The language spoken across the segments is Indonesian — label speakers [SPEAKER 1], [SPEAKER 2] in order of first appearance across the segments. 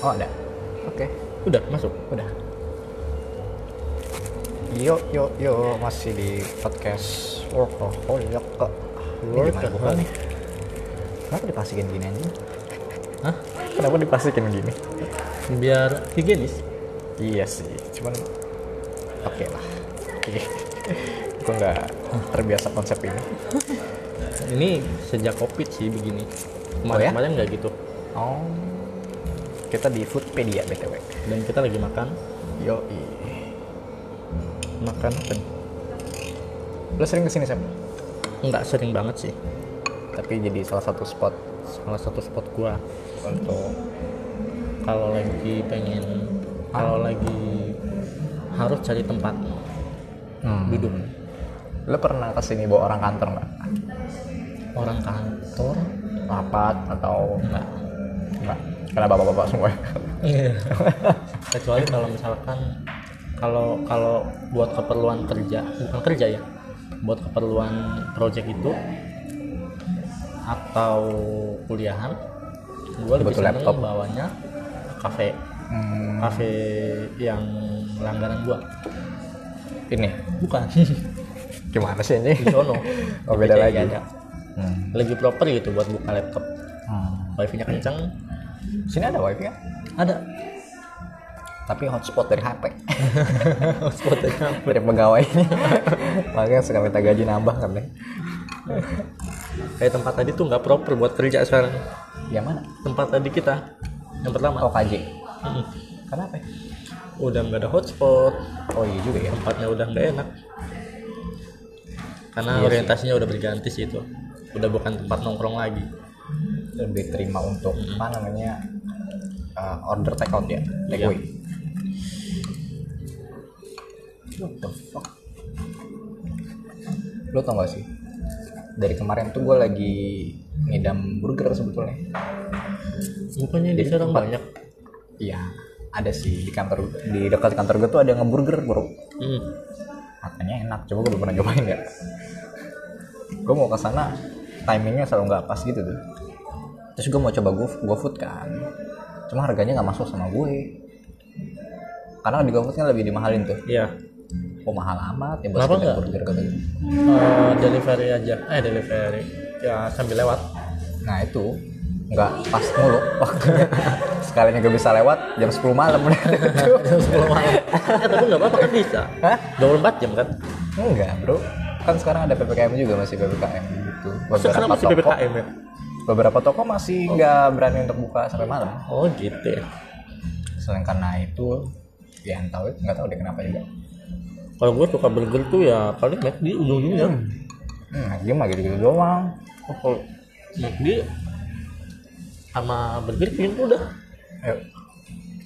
[SPEAKER 1] Oh ada. Oke.
[SPEAKER 2] Udah masuk.
[SPEAKER 1] Udah. Yo yo yo masih di podcast workaholic. Ini gimana gua nih? Kenapa diplastikin gini anjing?
[SPEAKER 2] Hah?
[SPEAKER 1] Kenapa diplastikin gini?
[SPEAKER 2] Biar higienis.
[SPEAKER 1] Iya sih, cuman oke lah. Gue nggak terbiasa konsep ini.
[SPEAKER 2] Ini sejak covid sih begini.
[SPEAKER 1] Oh ya?
[SPEAKER 2] Kemarin kemarin nggak gitu.
[SPEAKER 1] Oh, kita di Foodpedia btw.
[SPEAKER 2] Dan kita lagi makan.
[SPEAKER 1] Yo
[SPEAKER 2] Makan apa? nih?
[SPEAKER 1] Lo sering kesini Sam?
[SPEAKER 2] Nggak sering banget sih.
[SPEAKER 1] Tapi jadi salah satu spot
[SPEAKER 2] Salah satu spot gua
[SPEAKER 1] untuk
[SPEAKER 2] kalau lagi pengen
[SPEAKER 1] Ah.
[SPEAKER 2] kalau lagi harus cari tempat
[SPEAKER 1] Hmm.
[SPEAKER 2] duduk
[SPEAKER 1] Lo pernah kesini bawa orang kantor nggak?
[SPEAKER 2] orang kantor
[SPEAKER 1] Rapat atau
[SPEAKER 2] nggak
[SPEAKER 1] nggak? Karena bapak-bapak semua.
[SPEAKER 2] Iya. kecuali kalau misalkan kalau kalau buat keperluan kerja bukan kerja ya buat keperluan project itu atau kuliahan gue lebih
[SPEAKER 1] Butuh
[SPEAKER 2] seneng
[SPEAKER 1] laptop.
[SPEAKER 2] bawanya kafe
[SPEAKER 1] Hmm,
[SPEAKER 2] kafe yang langganan gua
[SPEAKER 1] ini
[SPEAKER 2] bukan
[SPEAKER 1] gimana sih
[SPEAKER 2] di
[SPEAKER 1] ini?
[SPEAKER 2] sono
[SPEAKER 1] Oh,
[SPEAKER 2] Di
[SPEAKER 1] beda
[SPEAKER 2] PCI
[SPEAKER 1] lagi.
[SPEAKER 2] ada. lebih proper gitu buat buka laptop
[SPEAKER 1] Hmm.
[SPEAKER 2] wifi nya kencang
[SPEAKER 1] Sini ada wifi kan?
[SPEAKER 2] ada
[SPEAKER 1] Tapi hotspot dari HP.
[SPEAKER 2] spotnya
[SPEAKER 1] dari pegawainya makanya suka minta gaji nambah kan deh
[SPEAKER 2] kayak tempat tadi tuh nggak proper buat kerja sekarang
[SPEAKER 1] yang mana
[SPEAKER 2] tempat tadi kita yang pertama Hmm.
[SPEAKER 1] oh KJ
[SPEAKER 2] Mm-mm.
[SPEAKER 1] kenapa ya?
[SPEAKER 2] udah nggak ada hotspot
[SPEAKER 1] oh iya juga ya
[SPEAKER 2] tempatnya udah nggak enak karena
[SPEAKER 1] Iya sih.
[SPEAKER 2] orientasinya udah berganti sih itu udah bukan tempat nongkrong lagi
[SPEAKER 1] lebih terima untuk apa namanya uh, order take out ya take away what the fuck lo tau gak sih dari kemarin tuh gue lagi ngidam burger sebetulnya
[SPEAKER 2] bukannya di sekarang
[SPEAKER 1] tempat.
[SPEAKER 2] banyak
[SPEAKER 1] iya ada sih di kantor di dekat kantor gue tuh ada ngeburger bro
[SPEAKER 2] Mm.
[SPEAKER 1] Makanya enak, coba gue belum pernah nyobain ya. Gue mau ke sana, timingnya selalu nggak pas gitu tuh. Terus gue mau coba gue GoFood kan, cuma harganya nggak masuk sama gue. Karena di GoFood kan lebih dimahalin tuh.
[SPEAKER 2] iya
[SPEAKER 1] Oh mahal amat ya buat
[SPEAKER 2] Kenapa
[SPEAKER 1] sekedar
[SPEAKER 2] nggak?
[SPEAKER 1] burger kata gue.
[SPEAKER 2] Eh, delivery aja eh delivery ya sambil lewat
[SPEAKER 1] Nah itu nggak pas mulu waktunya. Sekalinya gue bisa lewat jam 10 malam udah tuh.
[SPEAKER 2] sebelum malam eh, tapi nggak apa-apa kan bisa
[SPEAKER 1] Hah?
[SPEAKER 2] 24 jam kan
[SPEAKER 1] Enggak bro, kan sekarang ada PPKM juga masih PPKM gitu. Beberapa
[SPEAKER 2] sekarang masih
[SPEAKER 1] toko-
[SPEAKER 2] ppkm ya
[SPEAKER 1] beberapa toko masih nggak berani untuk buka sampai malam
[SPEAKER 2] oh gitu ya
[SPEAKER 1] selain karena itu ya nggak tahu nggak tahu deh kenapa juga
[SPEAKER 2] kalau gue suka burger tuh ya paling McD ya. ujung-ujungnya
[SPEAKER 1] hmm, dia mah gitu gitu doang
[SPEAKER 2] oh, kalau McD sama burger King tuh udah
[SPEAKER 1] eh,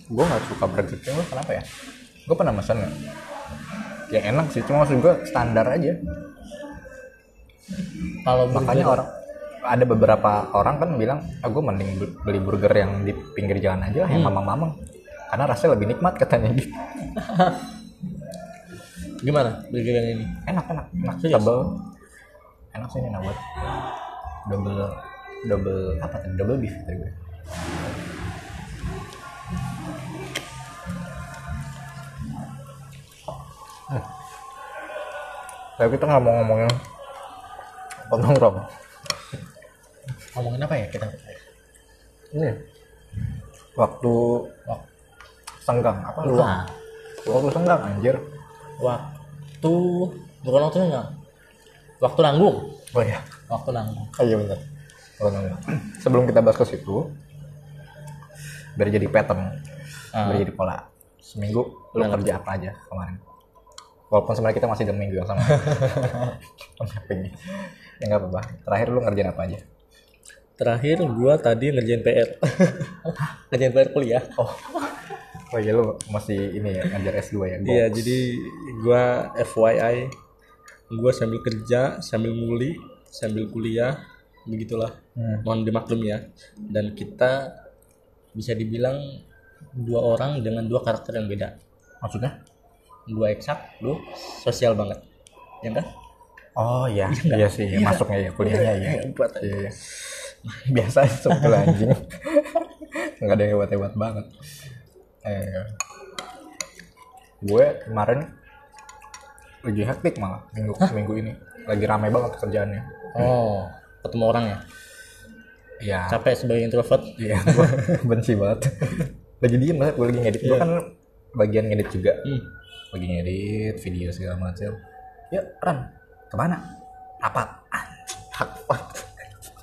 [SPEAKER 1] gue nggak suka burger king lo kenapa ya gue pernah pesan ya? ya enak sih cuma maksud gue standar aja
[SPEAKER 2] kalau
[SPEAKER 1] makanya
[SPEAKER 2] burger-
[SPEAKER 1] orang ada beberapa orang kan bilang ah, gue mending bu- beli burger yang di pinggir jalan aja lah yang mamang-mamang karena rasanya lebih nikmat katanya gitu
[SPEAKER 2] gimana burger yang ini
[SPEAKER 1] enak enak enak
[SPEAKER 2] Serius?
[SPEAKER 1] tebel enak sih ini enak buat double double apa tuh double beef kata gue Hmm. tapi kita nggak mau ngomongin tempat nongkrong
[SPEAKER 2] ngomongin apa ya kita
[SPEAKER 1] ini waktu wak- senggang apa luang
[SPEAKER 2] Wah,
[SPEAKER 1] waktu senggang anjir
[SPEAKER 2] waktu bukan waktu enggak waktu nanggung
[SPEAKER 1] oh iya
[SPEAKER 2] waktu nanggung
[SPEAKER 1] Oh iya benar. Kalau nggak- Sebelum kita bahas ke situ, biar jadi pattern,
[SPEAKER 2] Ah.
[SPEAKER 1] biar jadi pola. Seminggu lu
[SPEAKER 2] Dalam.
[SPEAKER 1] kerja apa aja kemarin? Walaupun sebenarnya kita masih dalam minggu yang sama. Tapi ya nggak apa-apa. Terakhir lu ngerjain apa aja?
[SPEAKER 2] terakhir gua tadi ngerjain PR ngerjain PR kuliah
[SPEAKER 1] Oh, oh iya lu masih ini ya ngajar S2 ya? Gua-
[SPEAKER 2] Iya, jadi gua FYI gua sambil kerja, sambil nguli, sambil kuliah, begitulah.
[SPEAKER 1] Hmm.
[SPEAKER 2] Mohon dimaklumi ya. Dan kita bisa dibilang dua orang dengan dua karakter yang beda.
[SPEAKER 1] Maksudnya?
[SPEAKER 2] Gua eksak, lu sosial banget. Ya kan?
[SPEAKER 1] Oh iya, iya sih,
[SPEAKER 2] Iya,
[SPEAKER 1] masuknya ya kuliahnya ya.
[SPEAKER 2] Buat
[SPEAKER 1] Iya, iya. Biasa sebetulnya anjing. nggak ada yang hebat hebat banget eh, gue kemarin lagi hektik malah minggu minggu ini lagi ramai banget kerjaannya
[SPEAKER 2] oh ketemu orang ya
[SPEAKER 1] ya
[SPEAKER 2] capek sebagai introvert
[SPEAKER 1] Iya, gua benci banget. Lagi diem banget, gue lagi ngedit.
[SPEAKER 2] Iya.
[SPEAKER 1] Gue kan bagian ngedit juga.
[SPEAKER 2] Hmm.
[SPEAKER 1] Lagi ngedit, video segala macam. Ya, Ran, kemana? Rapat. Anjing, Rapat.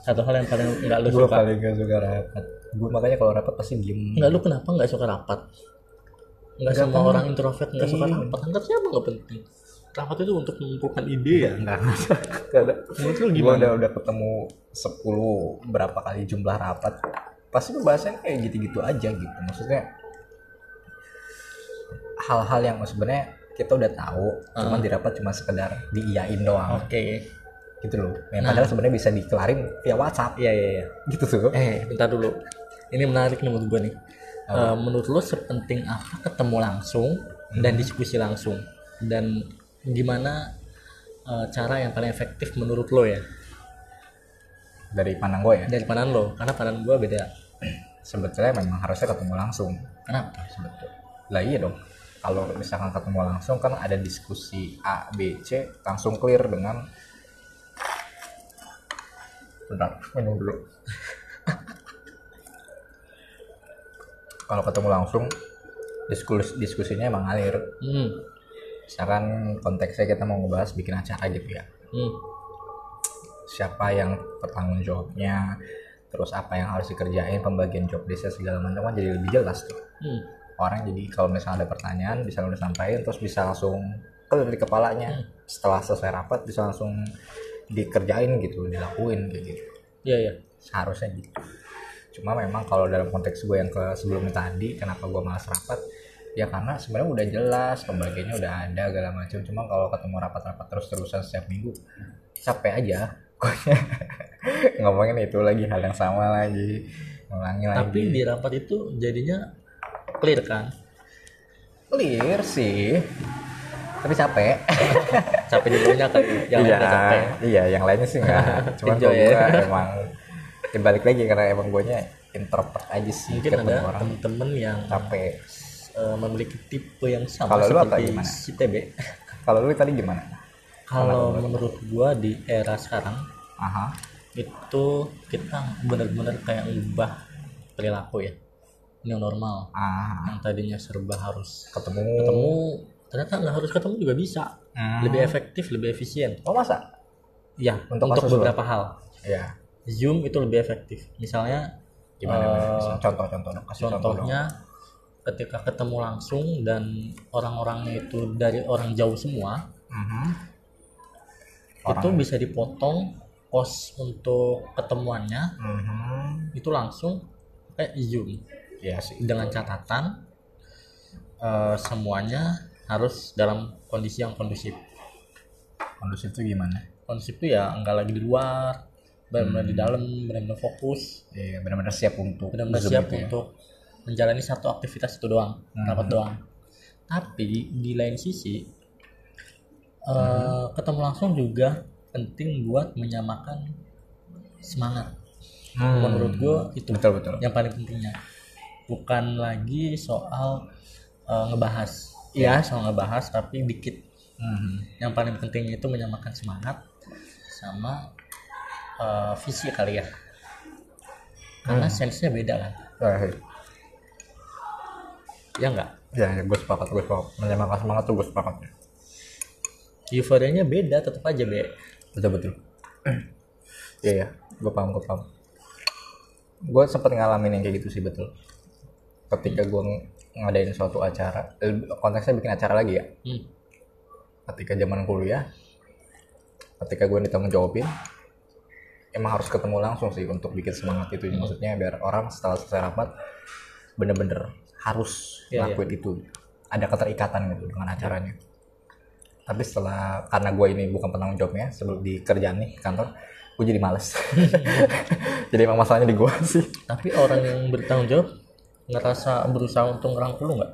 [SPEAKER 2] satu hal yang paling nggak lu
[SPEAKER 1] Gue
[SPEAKER 2] suka
[SPEAKER 1] paling gak suka rapat. Gue makanya kalau rapat pasti diem.
[SPEAKER 2] nggak lu kenapa nggak suka rapat nggak Iya.
[SPEAKER 1] Nggak
[SPEAKER 2] semua orang introvert nggak suka rapat anggap siapa nggak penting rapat itu untuk mengumpulkan ide ya
[SPEAKER 1] Enggak, enggak Iya. ada.
[SPEAKER 2] menurut lu
[SPEAKER 1] Gue
[SPEAKER 2] gimana
[SPEAKER 1] udah, udah ketemu 10 berapa kali jumlah rapat. Pasti pembahasannya kayak gitu-gitu aja gitu. Maksudnya hal-hal yang sebenarnya kita udah tahu, cuman di rapat cuma sekedar diiyain doang.
[SPEAKER 2] oke
[SPEAKER 1] gitu loh. Yang padahal sebenarnya bisa dikelarin via WhatsApp. Iya iya iya. Gitu tuh.
[SPEAKER 2] eh bentar dulu ini menarik nih menurut gue nih Eh, menurut lu sepenting apa ketemu langsung dan diskusi langsung dan gimana eh, cara yang paling efektif menurut lo ya
[SPEAKER 1] Dari pandang gue ya.
[SPEAKER 2] dari pandangan lo karena pandangan gue beda
[SPEAKER 1] Sebetulnya memang harusnya ketemu langsung.
[SPEAKER 2] kenapa
[SPEAKER 1] Sebetulnya. Lah iya dong. Kalau misalkan ketemu langsung kan ada diskusi A, B, C langsung clear dengan Bentar, minum dulu. Kalau ketemu langsung diskus diskusinya emang ngalir.
[SPEAKER 2] hmm.
[SPEAKER 1] Misalkan konteksnya kita mau ngebahas bikin acara gitu ya.
[SPEAKER 2] Hmm.
[SPEAKER 1] siapa yang bertanggung jawabnya terus apa yang harus dikerjain pembagian job desa segala macam kan jadi lebih jelas tuh
[SPEAKER 2] Hmm.
[SPEAKER 1] orang jadi kalau misalnya ada pertanyaan bisa udah sampaikan terus bisa langsung clear di kepalanya setelah selesai rapat bisa langsung dikerjain gitu dilakuin kayak gitu
[SPEAKER 2] Iya ya.
[SPEAKER 1] seharusnya gitu cuma memang kalau dalam konteks gue yang ke sebelumnya tadi kenapa gue malas rapat ya karena sebenarnya udah jelas pembagiannya udah ada segala macam cuma kalau ketemu rapat-rapat terus-terusan setiap minggu capek aja Pokoknya ngomongin itu lagi hal yang sama lagi ulangi lagi
[SPEAKER 2] Tapi di rapat itu jadinya clear kan?
[SPEAKER 1] clear sih tapi capek
[SPEAKER 2] Capek dulunya kan? Jangan
[SPEAKER 1] iya
[SPEAKER 2] ada capek.
[SPEAKER 1] iya yang lainnya sih enggak cuma
[SPEAKER 2] Enjoy
[SPEAKER 1] gue
[SPEAKER 2] ya.
[SPEAKER 1] emang ya balik lagi karena emang gue nya introvert aja sih
[SPEAKER 2] Mungkin
[SPEAKER 1] ketemu
[SPEAKER 2] ada
[SPEAKER 1] orang
[SPEAKER 2] temen-temen yang
[SPEAKER 1] capek
[SPEAKER 2] eh, memiliki tipe yang sama
[SPEAKER 1] Kalau lu apa
[SPEAKER 2] seperti
[SPEAKER 1] gimana?
[SPEAKER 2] si TB.
[SPEAKER 1] Kalau lu tadi gimana?
[SPEAKER 2] Kalau menurut gua di era sekarang
[SPEAKER 1] Aha.
[SPEAKER 2] itu kita bener-bener kayak ubah perilaku ya. Ini normal.
[SPEAKER 1] Ah,
[SPEAKER 2] Yang tadinya serba harus
[SPEAKER 1] ketemu.
[SPEAKER 2] ketemu, ternyata nggak harus ketemu juga bisa.
[SPEAKER 1] Hmm.
[SPEAKER 2] Lebih efektif, lebih efisien.
[SPEAKER 1] Oh, masa?
[SPEAKER 2] Ya,
[SPEAKER 1] Untuk
[SPEAKER 2] untuk
[SPEAKER 1] kasus lu?
[SPEAKER 2] beberapa hal.
[SPEAKER 1] Iya.
[SPEAKER 2] Zoom itu lebih efektif. Misalnya
[SPEAKER 1] Gimana?
[SPEAKER 2] eh,
[SPEAKER 1] Mas? Contoh-contoh dong, kasih contoh dong.
[SPEAKER 2] contohnya ketika ketemu langsung dan orang-orangnya itu dari orang jauh semua,
[SPEAKER 1] Mhm.
[SPEAKER 2] itu bisa dipotong kos untuk ketemuannya
[SPEAKER 1] Mhm.
[SPEAKER 2] itu langsung pakai Zoom
[SPEAKER 1] Iya sih.
[SPEAKER 2] dengan catatan eh, semuanya harus dalam kondisi yang kondusif.
[SPEAKER 1] Kondusif itu gimana?
[SPEAKER 2] Kondusif itu ya nggak lagi di luar, benar-benar
[SPEAKER 1] Hmm.
[SPEAKER 2] di dalam, benar-benar fokus,
[SPEAKER 1] Iya, benar-benar siap untuk
[SPEAKER 2] benar-benar
[SPEAKER 1] Zoom
[SPEAKER 2] siap
[SPEAKER 1] gitu ya.
[SPEAKER 2] untuk menjalani satu aktivitas itu doang, rapat doang. Tapi di lain sisi eh,
[SPEAKER 1] Mhm.
[SPEAKER 2] ketemu langsung juga penting buat menyamakan semangat.
[SPEAKER 1] Hmm.
[SPEAKER 2] Menurut gue itu
[SPEAKER 1] Betul betul.
[SPEAKER 2] yang paling pentingnya. Bukan lagi soal eh, ngebahas. Iya, soal ngebahas tapi dikit.
[SPEAKER 1] Mhm.
[SPEAKER 2] Yang paling pentingnya itu menyamakan semangat sama eh, visi kali ya. Karena
[SPEAKER 1] Hmm.
[SPEAKER 2] sense-nya beda kan.
[SPEAKER 1] Eh,
[SPEAKER 2] Ya enggak?
[SPEAKER 1] ya, ya, gue sepakat, gue sepakat. Menyamakan semangat tuh gue sepakat.
[SPEAKER 2] euforianya beda tetap aja be
[SPEAKER 1] Betul betul. Iya ya, gue paham, gue paham. Gue sempat ngalamin yang kayak gitu sih betul. Ketika gue ngadain suatu acara, eh, konteksnya bikin acara lagi ya.
[SPEAKER 2] hmm.
[SPEAKER 1] ketika zaman kuliah ketika gue ditanggung jawabin emang harus ketemu langsung sih untuk bikin semangat itu
[SPEAKER 2] Hmm.
[SPEAKER 1] maksudnya biar orang setelah selesai rapat bener-bener harus
[SPEAKER 2] Iya,
[SPEAKER 1] lakuin itu ada keterikatan gitu dengan acaranya tapi setelah karena gue ini bukan penanggung jawabnya sebelum di kerjaan nih kantor gue jadi males jadi emang masalahnya di gue sih
[SPEAKER 2] tapi orang yang bertanggung jawab ngerasa berusaha untuk ngerangkul lu nggak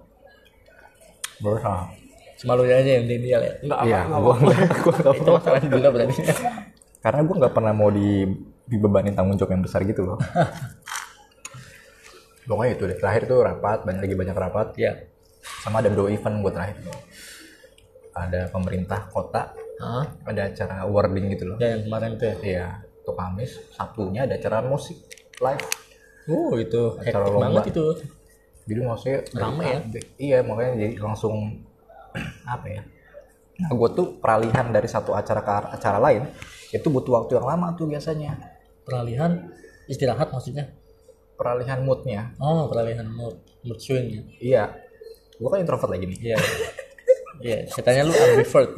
[SPEAKER 1] berusaha
[SPEAKER 2] cuma lu aja yang ideal ya nggak
[SPEAKER 1] iya gue gue nggak
[SPEAKER 2] itu masalah juga berarti
[SPEAKER 1] karena gue nggak pernah mau di dibebanin tanggung jawab yang besar gitu loh pokoknya itu deh terakhir tuh rapat banyak lagi banyak rapat
[SPEAKER 2] Iya.
[SPEAKER 1] sama ada dua event buat terakhir tuh. ada pemerintah kota
[SPEAKER 2] Hah?
[SPEAKER 1] ada acara awarding gitu loh
[SPEAKER 2] Ya yang kemarin itu ya.
[SPEAKER 1] iya tuh Kamis Sabtunya ada acara musik live
[SPEAKER 2] Uh itu
[SPEAKER 1] Acara
[SPEAKER 2] hektik
[SPEAKER 1] lomba.
[SPEAKER 2] banget itu.
[SPEAKER 1] jadi maksudnya dari-
[SPEAKER 2] Rame ya?
[SPEAKER 1] iya makanya jadi langsung apa ya nah gue tuh peralihan dari satu acara ke acara lain itu butuh waktu yang lama tuh biasanya
[SPEAKER 2] Peralihan istirahat maksudnya.
[SPEAKER 1] peralihan moodnya
[SPEAKER 2] Oh peralihan mood mood swing ya.
[SPEAKER 1] iya gue kan introvert lagi nih
[SPEAKER 2] Iya. Iya, katanya lu ambivert.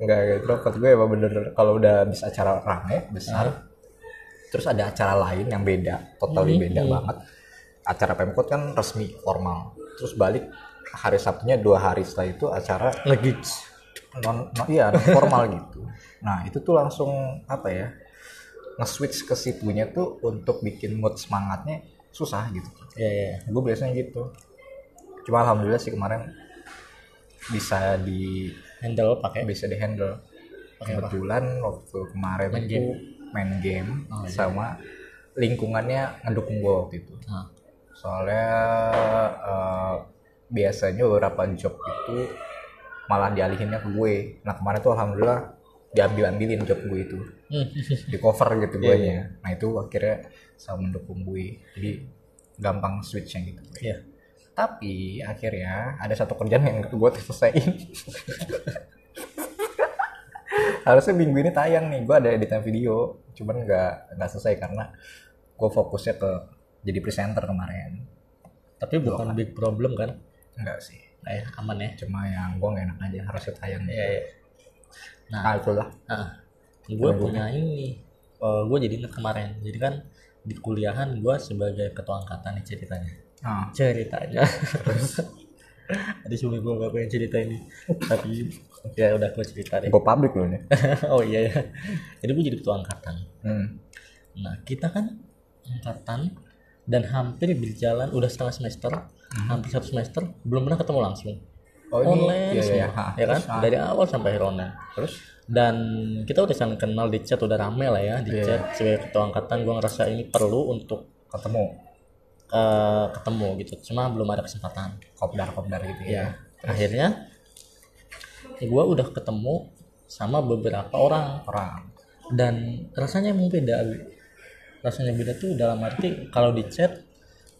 [SPEAKER 1] Enggak, enggak introvert gue emang bener kalau udah habis acara rame besar terus ada acara lain yang beda totally beda banget acara pemkot kan resmi formal terus balik hari Sabtunya dua hari setelah itu acara
[SPEAKER 2] Lagi.
[SPEAKER 1] non, non- iya non formal gitu nah itu tuh langsung apa ya nge-switch ke situnya tuh untuk bikin mood semangatnya susah gitu
[SPEAKER 2] Iya, iya.
[SPEAKER 1] gue biasanya gitu cuma alhamdulillah sih kemarin bisa di ya,
[SPEAKER 2] Handle pakai
[SPEAKER 1] bisa di handle
[SPEAKER 2] Pakai apa?
[SPEAKER 1] kebetulan waktu kemarin
[SPEAKER 2] Main
[SPEAKER 1] itu main game
[SPEAKER 2] Oh, iya.
[SPEAKER 1] sama lingkungannya ngedukung gue waktu itu
[SPEAKER 2] Nah,
[SPEAKER 1] soalnya eh, biasanya beberapa job itu malah dialihinnya ke gue nah kemarin tuh alhamdulillah diambil ambilin job gue itu
[SPEAKER 2] Hmm.
[SPEAKER 1] di cover gitu
[SPEAKER 2] Iya,
[SPEAKER 1] gue nya nah itu akhirnya sama mendukung gue jadi gampang switchnya gitu gue.
[SPEAKER 2] Iya.
[SPEAKER 1] tapi akhirnya ada satu kerjaan yang gue tuh selesaiin harusnya minggu ini tayang nih gue ada editan video cuman nggak nggak selesai karena gue fokusnya ke jadi presenter kemarin
[SPEAKER 2] Tapi bukan big problem kan?
[SPEAKER 1] enggak sih
[SPEAKER 2] Eh, aman ya.
[SPEAKER 1] cuma yang gue nggak enak aja harusnya tayang
[SPEAKER 2] Iya, iya.
[SPEAKER 1] nah itulah
[SPEAKER 2] Nah, gue punya ini. gue jadi inget kemarin. Jadi kan di kuliahan gue sebagai ketua angkatan nih ceritanya.
[SPEAKER 1] nah,
[SPEAKER 2] Ceritanya. Terus. Tadi sebelum gue gak pengen cerita ini. Tapi ya udah gue cerita deh.
[SPEAKER 1] gue publik loh nih
[SPEAKER 2] oh iya ya. Jadi gue jadi ketua angkatan.
[SPEAKER 1] hmm.
[SPEAKER 2] Nah, kita kan angkatan dan hampir berjalan udah setengah semester, hampir satu semester belum pernah ketemu langsung.
[SPEAKER 1] Hmm. Oh, ini-
[SPEAKER 2] Online
[SPEAKER 1] iya, iya,
[SPEAKER 2] semua,
[SPEAKER 1] iya. Ha,
[SPEAKER 2] ya kan?
[SPEAKER 1] terus, ha.
[SPEAKER 2] Dari awal sampai akhir online.
[SPEAKER 1] terus
[SPEAKER 2] Dan kita udah saling kenal di chat udah rame lah ya di chat sebagai ketua angkatan gua ngerasa ini perlu untuk
[SPEAKER 1] ketemu
[SPEAKER 2] eh, ketemu gitu. Cuma belum ada kesempatan.
[SPEAKER 1] kopdar kopdar gitu ya
[SPEAKER 2] Ya, akhirnya gua udah ketemu sama beberapa orang
[SPEAKER 1] orang
[SPEAKER 2] dan rasanya emang beda Abi. rasanya beda tuh dalam arti kalau di chat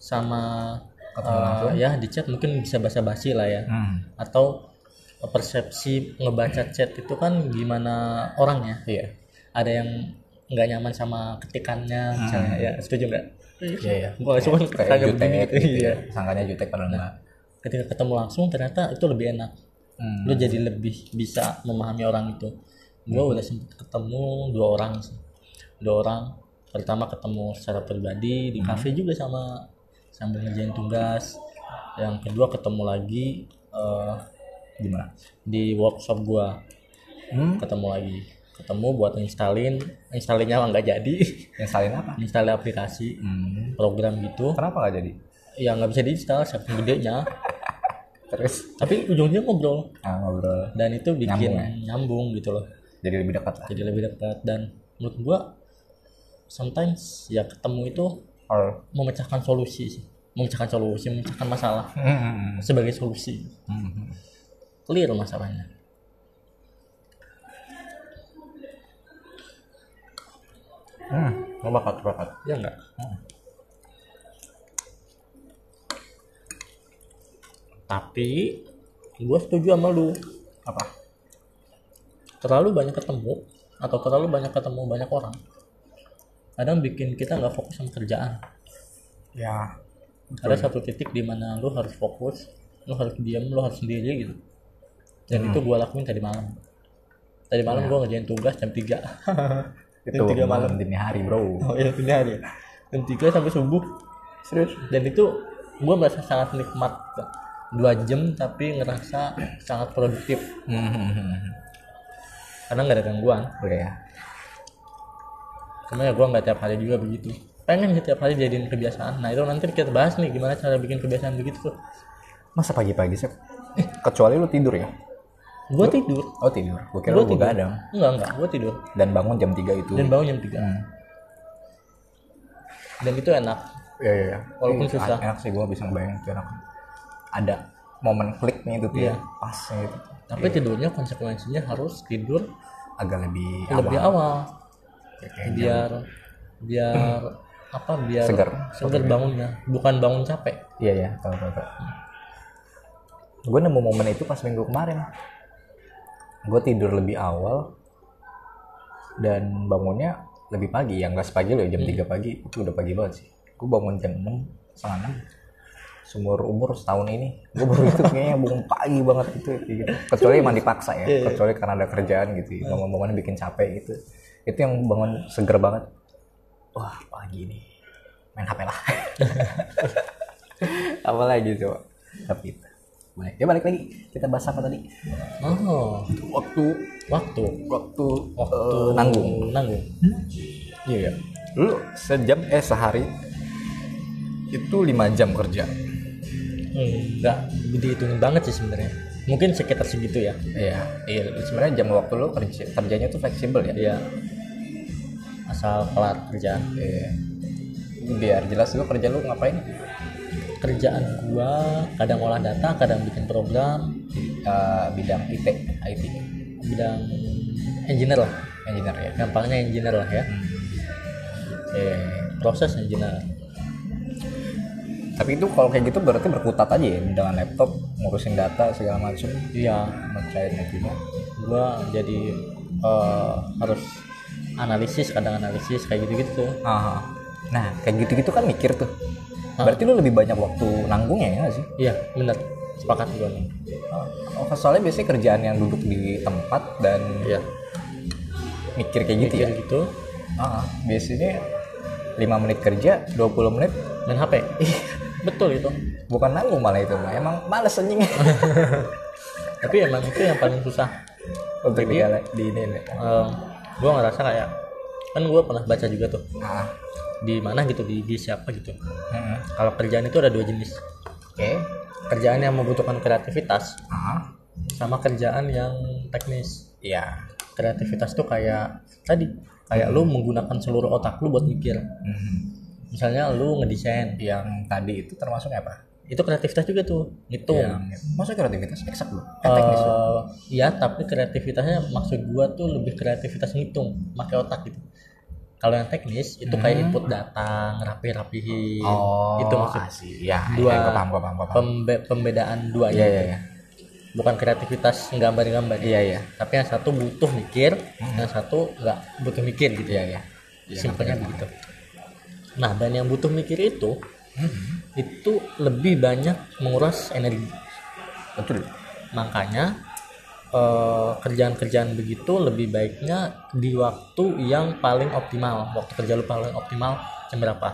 [SPEAKER 2] sama eh, ya di chat mungkin bisa basa-basi lah ya
[SPEAKER 1] hmm.
[SPEAKER 2] atau persepsi ngebaca chat itu kan gimana orangnya
[SPEAKER 1] iya
[SPEAKER 2] ada yang nggak nyaman sama ketikannya misalnya ya setuju nggak
[SPEAKER 1] iya iya
[SPEAKER 2] gua cuma
[SPEAKER 1] Hmm. kayak
[SPEAKER 2] ketanya begini
[SPEAKER 1] jutek
[SPEAKER 2] gitu
[SPEAKER 1] gitu
[SPEAKER 2] iya
[SPEAKER 1] ya. sangkanya jutek padahal enggak
[SPEAKER 2] ketika ketemu langsung ternyata itu lebih enak
[SPEAKER 1] Hmm. Hmm.
[SPEAKER 2] lu jadi lebih bisa memahami orang itu gue udah sempet ketemu dua orang sih dua orang pertama ketemu secara pribadi
[SPEAKER 1] Hmm.
[SPEAKER 2] di kafe juga sama sambil ngerjain tugas yang kedua ketemu lagi eh,
[SPEAKER 1] gimana
[SPEAKER 2] di workshop gua
[SPEAKER 1] hmm.
[SPEAKER 2] ketemu lagi ketemu buat installin installinnya nggak jadi
[SPEAKER 1] installin Ya, apa
[SPEAKER 2] install aplikasi
[SPEAKER 1] hmm.
[SPEAKER 2] program gitu
[SPEAKER 1] kenapa nggak jadi
[SPEAKER 2] ya nggak bisa diinstal saking gedenya
[SPEAKER 1] terus
[SPEAKER 2] tapi ujungnya ngobrol
[SPEAKER 1] nah, ngobrol
[SPEAKER 2] dan itu bikin
[SPEAKER 1] Nyambung
[SPEAKER 2] nyambung, gitu loh
[SPEAKER 1] jadi lebih dekat lah
[SPEAKER 2] jadi lebih dekat dan menurut gua sometimes ya ketemu itu
[SPEAKER 1] or
[SPEAKER 2] memecahkan solusi sih memecahkan solusi memecahkan masalah
[SPEAKER 1] hmm.
[SPEAKER 2] sebagai solusi
[SPEAKER 1] Hmm.
[SPEAKER 2] clear masalahnya
[SPEAKER 1] Hmm. Bakat, bakat.
[SPEAKER 2] ya enggak tapi gua setuju sama lu
[SPEAKER 1] apa
[SPEAKER 2] terlalu banyak ketemu atau terlalu banyak ketemu banyak orang kadang bikin kita nggak fokus sama kerjaan
[SPEAKER 1] ya
[SPEAKER 2] ada satu titik di mana lu harus fokus lu harus diam lu harus sendiri gitu dan itu gua lakuin tadi malam tadi malam gua ngerjain tugas jam 3
[SPEAKER 1] itu
[SPEAKER 2] tiga
[SPEAKER 1] malam dini hari bro
[SPEAKER 2] oh iya tiga hari jam 3 sampai subuh
[SPEAKER 1] serius
[SPEAKER 2] dan itu gua merasa sangat nikmat dua jam tapi ngerasa sangat produktif
[SPEAKER 1] Hmm,
[SPEAKER 2] karena nggak ada gangguan
[SPEAKER 1] oke ya
[SPEAKER 2] cuma ya gua nggak tiap hari juga begitu pengen sih tiap hari jadiin kebiasaan nah itu nanti kita bahas nih gimana cara bikin kebiasaan begitu tuh
[SPEAKER 1] masa pagi-pagi sih Eh, kecuali lu tidur ya
[SPEAKER 2] gue tidur
[SPEAKER 1] oh tidur gue kira
[SPEAKER 2] Gua
[SPEAKER 1] lu
[SPEAKER 2] tidur.
[SPEAKER 1] begadang
[SPEAKER 2] enggak enggak gue tidur
[SPEAKER 1] dan bangun jam 3 itu
[SPEAKER 2] dan bangun jam 3
[SPEAKER 1] Hmm.
[SPEAKER 2] dan Oh, itu enak
[SPEAKER 1] Iya, iya, iya.
[SPEAKER 2] Walaupun
[SPEAKER 1] Ih,
[SPEAKER 2] susah.
[SPEAKER 1] Enak sih gue bisa ngebayangin itu enak. Ada momen kliknya itu tuh
[SPEAKER 2] Iya.
[SPEAKER 1] ya, pas gitu.
[SPEAKER 2] Tapi tidurnya konsekuensinya harus tidur
[SPEAKER 1] Agak lebih
[SPEAKER 2] lebih awal
[SPEAKER 1] Kayak-
[SPEAKER 2] biar biar apa biar
[SPEAKER 1] Segar.
[SPEAKER 2] segar bangunnya, bukan bangun capek.
[SPEAKER 1] Iya ya, tahu tahu. tahu. Gue nemu momen itu pas minggu kemarin. Gue tidur lebih awal dan bangunnya lebih pagi, ya nggak sepagi loh, jam 3 pagi itu udah pagi banget sih. Gue bangun jam 6, setengah 6. Seumur umur setahun ini, gue baru itu kayaknya bangun pagi banget gitu, kayak gitu. Kecuali emang dipaksa ya, kecuali karena ada kerjaan gitu, bangun-bangun bikin capek gitu. Itu yang bangun seger banget. Wah pagi nih, main HP lah. apa lagi coba tapi itu boleh ya balik lagi kita bahas apa tadi
[SPEAKER 2] Oh,
[SPEAKER 1] waktu
[SPEAKER 2] waktu
[SPEAKER 1] waktu
[SPEAKER 2] waktu
[SPEAKER 1] eh, nanggung
[SPEAKER 2] nanggung.
[SPEAKER 1] iya ya lu sejam eh sehari itu lima jam kerja
[SPEAKER 2] Enggak dihitungin banget sih sebenarnya. Mungkin sekitar segitu ya.
[SPEAKER 1] iya iya sebenarnya jam waktu lu kerja kerjanya tuh fleksibel ya
[SPEAKER 2] Iya. Asal kelar kerjaan.
[SPEAKER 1] iya biar jelas lu kerja lu ngapain
[SPEAKER 2] Kerjaan gua kadang olah data, kadang bikin program
[SPEAKER 1] Eh, bidang IT IT
[SPEAKER 2] bidang engineer lah.
[SPEAKER 1] engineer ya Hmm.
[SPEAKER 2] Gampangnya engineer lah ya. Eh,
[SPEAKER 1] iya
[SPEAKER 2] Proses engineer.
[SPEAKER 1] tapi itu kalau kayak gitu berarti berkutat aja ya dengan laptop ngurusin data segala macam
[SPEAKER 2] Iya,
[SPEAKER 1] mencari netnya
[SPEAKER 2] gua jadi eh, harus analisis, kadang analisis kayak gitu-gitu tuh.
[SPEAKER 1] Aha. Nah, kayak gitu-gitu kan mikir tuh. Berarti lu lebih banyak waktu nanggungnya ya nggak sih?
[SPEAKER 2] Iya, bener Sepakat gua nih.
[SPEAKER 1] Oh, soalnya biasanya kerjaan yang duduk di tempat dan
[SPEAKER 2] Iya.
[SPEAKER 1] mikir kayak gitu ya.
[SPEAKER 2] Kayak gitu
[SPEAKER 1] Ah, biasanya 5 menit kerja, 20 menit
[SPEAKER 2] main HP. Betul itu.
[SPEAKER 1] bukan nanggung malah itu. Bang. Emang males anjing.
[SPEAKER 2] Tapi emang itu yang paling susah. Iya.
[SPEAKER 1] Untuk di, di ini. ini.
[SPEAKER 2] gue ngerasa kayak kan gue pernah baca juga tuh
[SPEAKER 1] Ah.
[SPEAKER 2] di mana gitu di, di siapa gitu
[SPEAKER 1] Hmm.
[SPEAKER 2] kalau kerjaan itu ada dua jenis
[SPEAKER 1] Oke.
[SPEAKER 2] kerjaan yang membutuhkan kreativitas
[SPEAKER 1] Ah.
[SPEAKER 2] sama kerjaan yang teknis
[SPEAKER 1] Iya.
[SPEAKER 2] kreativitas tuh kayak tadi kayak lu menggunakan seluruh otak lu buat mikir
[SPEAKER 1] Hmm.
[SPEAKER 2] misalnya lu ngedesain
[SPEAKER 1] Yang tadi itu termasuk apa?
[SPEAKER 2] itu kreativitas juga tuh ngitung
[SPEAKER 1] Yang maksudnya kreativitas eksak lu. Eh,
[SPEAKER 2] Eh,
[SPEAKER 1] teknis lu.
[SPEAKER 2] ya tapi kreativitasnya maksud gua tuh lebih kreativitas ngitung pakai otak gitu kalau yang teknis itu
[SPEAKER 1] Hmm.
[SPEAKER 2] kayak input data ngerapi-rapihin Iya, itu maksud
[SPEAKER 1] Oh, asik. Ya,
[SPEAKER 2] Dua-
[SPEAKER 1] ya, gua paham, gua paham, gua paham.
[SPEAKER 2] pembe- pembedaan dua
[SPEAKER 1] Iya,
[SPEAKER 2] ya
[SPEAKER 1] iya, iya.
[SPEAKER 2] bukan kreativitas gambar-gambar ya.
[SPEAKER 1] Iya, iya. Hmm.
[SPEAKER 2] tapi yang satu butuh mikir yang satu nggak butuh mikir gitu
[SPEAKER 1] Iya, iya.
[SPEAKER 2] simpelnya begitu nah dan yang butuh mikir itu
[SPEAKER 1] Mm-hmm.
[SPEAKER 2] itu lebih banyak menguras energi
[SPEAKER 1] Betul.
[SPEAKER 2] makanya eh, kerjaan-kerjaan begitu lebih baiknya di waktu yang paling optimal waktu kerja lu paling optimal jam berapa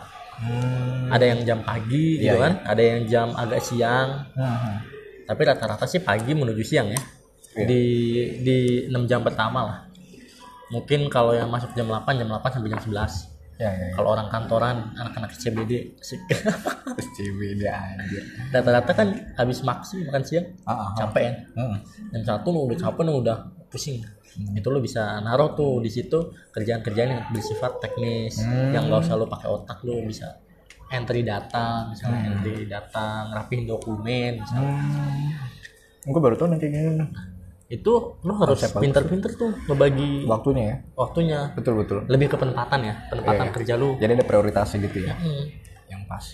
[SPEAKER 2] ada yang jam pagi gitu
[SPEAKER 1] Iya,
[SPEAKER 2] kan ada yang jam agak siang tapi rata-rata sih pagi menuju siang ya
[SPEAKER 1] Iya.
[SPEAKER 2] di di 6 jam pertama lah mungkin kalau yang masuk jam 8 jam 8 sampai jam 11
[SPEAKER 1] Ya, ya, ya.
[SPEAKER 2] kalau orang kantoran anak-anak CBD sih.
[SPEAKER 1] Terus cewek dia anjir.
[SPEAKER 2] rata-rata kan habis maksi makan siang
[SPEAKER 1] Ah, ah, ah.
[SPEAKER 2] capek ya
[SPEAKER 1] Hmm.
[SPEAKER 2] jam satu lu udah capek lu udah pusing itu lu bisa naruh tuh di situ kerjaan-kerjaan yang bersifat teknis yang gak usah lu pakai otak lu bisa entry data misalnya entry data ngerapihin dokumen misalnya.
[SPEAKER 1] Gue Hmm. baru tau nih kayak gini nih.
[SPEAKER 2] itu lu harus
[SPEAKER 1] Konsep bagus.
[SPEAKER 2] pinter-pinter tuh ngebagi
[SPEAKER 1] Waktunya ya.
[SPEAKER 2] waktunya
[SPEAKER 1] Betul, betul.
[SPEAKER 2] lebih ke penempatan ya penempatan
[SPEAKER 1] Iya.
[SPEAKER 2] kerja lu
[SPEAKER 1] Jadi ada prioritasnya gitu ya.
[SPEAKER 2] Hmm.
[SPEAKER 1] Yang pas.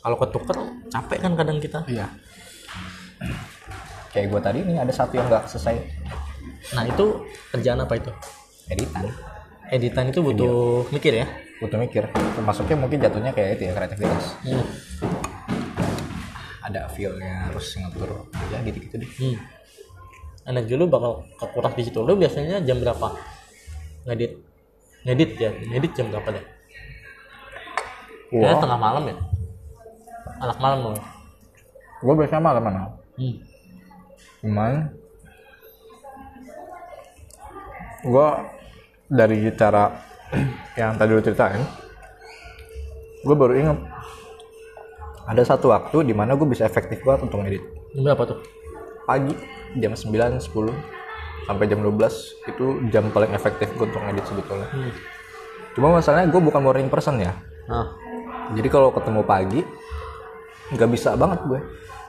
[SPEAKER 2] kalau ketuker capek kan kadang kita
[SPEAKER 1] Iya. Kayak gue tadi nih ada satu yang gak selesai
[SPEAKER 2] nah itu kerjaan apa itu
[SPEAKER 1] editan.
[SPEAKER 2] editan itu butuh mikir ya
[SPEAKER 1] Butuh mikir. Masuknya mungkin jatuhnya kayak itu ya kreativitas.
[SPEAKER 2] Hmm.
[SPEAKER 1] Ada feel-nya harus ngatur. Ya gitu-gitu deh.
[SPEAKER 2] Hmm. Energi lu bakal kekuras di situ. Lu biasanya jam berapa? Ngedit. Ngedit ya. Ngedit jam berapa deh?
[SPEAKER 1] Wah.
[SPEAKER 2] Ya, tengah malam ya. Anak malam lu. ya?
[SPEAKER 1] Gue biasanya malam mana?
[SPEAKER 2] Hmm.
[SPEAKER 1] cuman gue dari cara yang tadi lu ceritain gue baru inget ada satu waktu di mana gue bisa efektif banget untuk ngedit
[SPEAKER 2] Jam berapa tuh?
[SPEAKER 1] pagi jam 9, 10 sampai jam 12 itu jam paling efektif gue untuk ngedit sebetulnya
[SPEAKER 2] Hmm.
[SPEAKER 1] cuma masalahnya gue bukan morning person ya
[SPEAKER 2] Nah,
[SPEAKER 1] jadi kalau ketemu pagi nggak bisa banget gue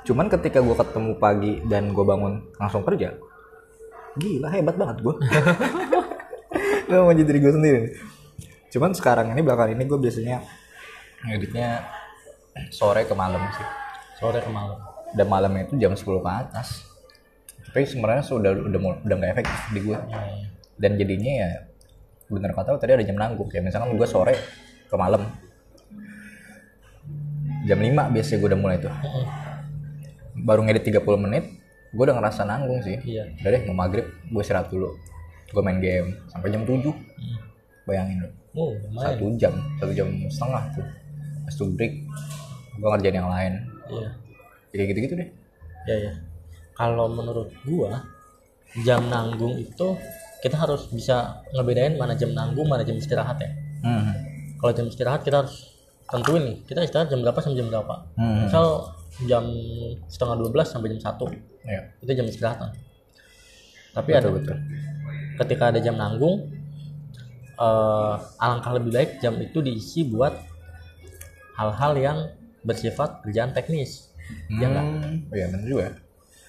[SPEAKER 1] cuman ketika gue ketemu pagi dan gue bangun langsung kerja gila hebat banget gue gue mau jadi diri gue sendiri nih. cuman sekarang ini belakangan ini gue biasanya ngeditnya sore ke malam sih
[SPEAKER 2] sore ke malam
[SPEAKER 1] dan malamnya itu jam 10 ke atas tapi sebenarnya sudah udah mul- udah nggak efektif di gue
[SPEAKER 2] Hmm.
[SPEAKER 1] dan jadinya ya bener kata lu tadi ada jam nanggung ya misalkan gue sore ke malam jam 5 biasanya gue udah mulai tuh
[SPEAKER 2] Mm-mm.
[SPEAKER 1] baru ngedit 30 menit gue udah ngerasa nanggung sih
[SPEAKER 2] Iya.
[SPEAKER 1] udah deh mau maghrib gue istirahat dulu gue main game sampai jam 7 bayangin lu
[SPEAKER 2] Oh, lumayan.
[SPEAKER 1] satu jam satu jam setengah tuh pas tuh break gue ngerjain yang lain
[SPEAKER 2] Iya.
[SPEAKER 1] Ya, kayak gitu-gitu deh
[SPEAKER 2] Iya, iya. Kalau menurut gua jam nanggung itu kita harus bisa ngebedain mana jam nanggung, mana jam istirahat ya.
[SPEAKER 1] hmm.
[SPEAKER 2] Kalau jam istirahat kita harus tentuin nih, kita istirahat jam berapa sampai jam berapa.
[SPEAKER 1] Hmm.
[SPEAKER 2] Misal jam setengah 12 sampai jam 1
[SPEAKER 1] Iya.
[SPEAKER 2] itu jam istirahat. Tapi ada
[SPEAKER 1] betul betul
[SPEAKER 2] ketika ada jam nanggung eh, alangkah lebih baik jam itu diisi buat hal-hal yang bersifat kerjaan teknis ya nggak
[SPEAKER 1] Hmm, iya bener juga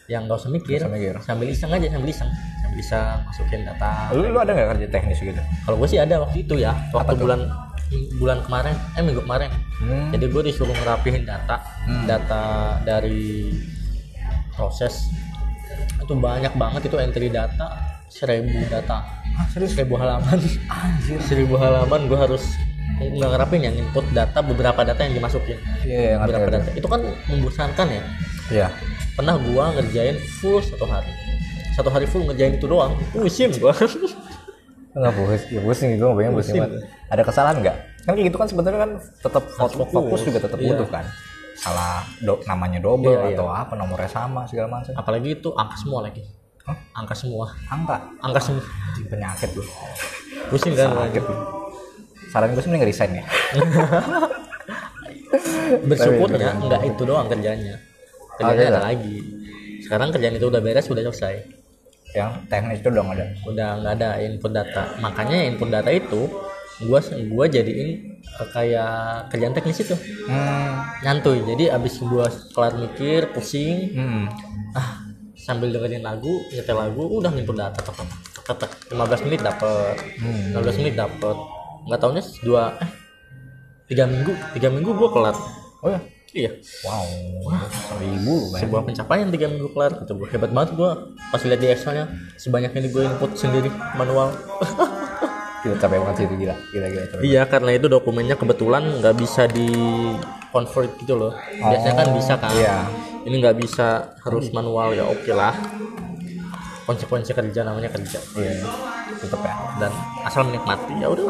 [SPEAKER 2] yang nggak usah mikir
[SPEAKER 1] Nggak usah mikir.
[SPEAKER 2] sambil iseng aja sambil iseng sambil iseng masukin data
[SPEAKER 1] lu, lu ada nggak kerja teknis gitu
[SPEAKER 2] kalau gue sih ada waktu itu ya waktu
[SPEAKER 1] Apa tuh?
[SPEAKER 2] bulan bulan kemarin eh minggu kemarin
[SPEAKER 1] Hmm.
[SPEAKER 2] jadi gue disuruh ngerapihin data data dari proses itu banyak banget itu entry data seribu data seribu halaman seribu halaman gue harus nggak ngerapin yang input data beberapa data yang dimasukin
[SPEAKER 1] Iya, iya, ngerti,
[SPEAKER 2] beberapa
[SPEAKER 1] ngerti.
[SPEAKER 2] data itu kan membosankan ya
[SPEAKER 1] Iya.
[SPEAKER 2] pernah gua ngerjain full satu hari satu hari full ngerjain itu doang musim gua
[SPEAKER 1] Enggak fokus, ya pusing gue nggak pengen pusing
[SPEAKER 2] Pusing.
[SPEAKER 1] banget. Ada kesalahan nggak? Kan kayak gitu kan sebenarnya kan tetap fokus,
[SPEAKER 2] fokus.
[SPEAKER 1] fokus juga tetap
[SPEAKER 2] Iya.
[SPEAKER 1] butuh kan. Salah do- namanya double
[SPEAKER 2] Iya,
[SPEAKER 1] atau apa nomornya sama segala macam.
[SPEAKER 2] apalagi itu angka semua lagi
[SPEAKER 1] Hah?
[SPEAKER 2] angka semua
[SPEAKER 1] Angka
[SPEAKER 2] angka semua
[SPEAKER 1] Anjing, penyakit lu.
[SPEAKER 2] pusing kan gua?
[SPEAKER 1] Penyakit lu. Saran gue sih mending resign ya.
[SPEAKER 2] bersyukurnya nggak itu doang kerjanya kerjanya
[SPEAKER 1] Ada
[SPEAKER 2] ada lagi sekarang kerjaan itu udah beres udah selesai
[SPEAKER 1] Yang teknis itu udah nggak ada.
[SPEAKER 2] udah nggak ada input data makanya input data itu gua gua jadiin eh, kayak kerjaan teknis itu
[SPEAKER 1] Hmm.
[SPEAKER 2] nyantuy jadi abis gua kelar mikir pusing
[SPEAKER 1] Hmm.
[SPEAKER 2] ah sambil dengerin lagu nyetel lagu udah ngimpun data tek, tek, tek, tek, tek. 15 menit dapet 15 menit dapet nggak taunya dua eh tiga minggu tiga minggu gua kelar
[SPEAKER 1] Oh ya.
[SPEAKER 2] iya
[SPEAKER 1] Wow. Seribu lu kan.
[SPEAKER 2] sebuah pencapaian tiga minggu kelar kata gua hebat banget gua pas lihat di Excelnya sebanyak ini gue input sendiri manual
[SPEAKER 1] Kita capek banget sih itu gila. Gila gila capek.
[SPEAKER 2] iya karena itu dokumennya kebetulan nggak bisa di convert gitu loh biasanya kan bisa kan
[SPEAKER 1] Iya.
[SPEAKER 2] ini nggak bisa harus manual ya oke lah konsekuensi kerja namanya kerja
[SPEAKER 1] Iya. Tetap ya.
[SPEAKER 2] dan asal menikmati ya udah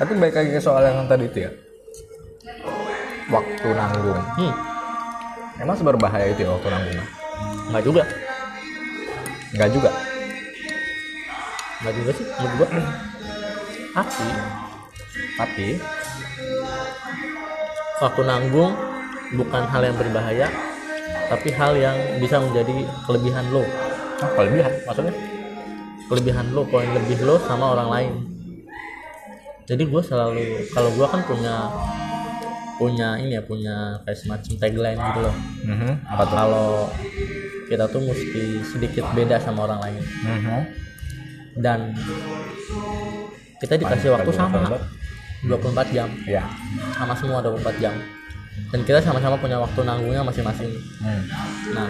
[SPEAKER 1] Tapi balik lagi ke soal yang tadi itu ya. Waktu nanggung.
[SPEAKER 2] hmm
[SPEAKER 1] Emang seberbahaya itu ya waktu nanggung?
[SPEAKER 2] nggak juga
[SPEAKER 1] Enggak juga.
[SPEAKER 2] nggak juga sih menurut gua tapi
[SPEAKER 1] Tapi
[SPEAKER 2] waktu nanggung bukan hal yang berbahaya tapi hal yang bisa menjadi kelebihan lo
[SPEAKER 1] apa kelebihan maksudnya?
[SPEAKER 2] kelebihan lo poin lebih lo sama orang lain jadi gue selalu kalau gua kan punya punya ini ya punya kayak semacam tagline gitu loh
[SPEAKER 1] Apa tuh?
[SPEAKER 2] kalau kita tuh mesti sedikit beda sama orang lain dan kita dikasih waktu sama 24 jam
[SPEAKER 1] Ya.
[SPEAKER 2] sama semua 24 jam dan kita sama-sama punya waktu nanggungnya masing-masing
[SPEAKER 1] Hmm.
[SPEAKER 2] nah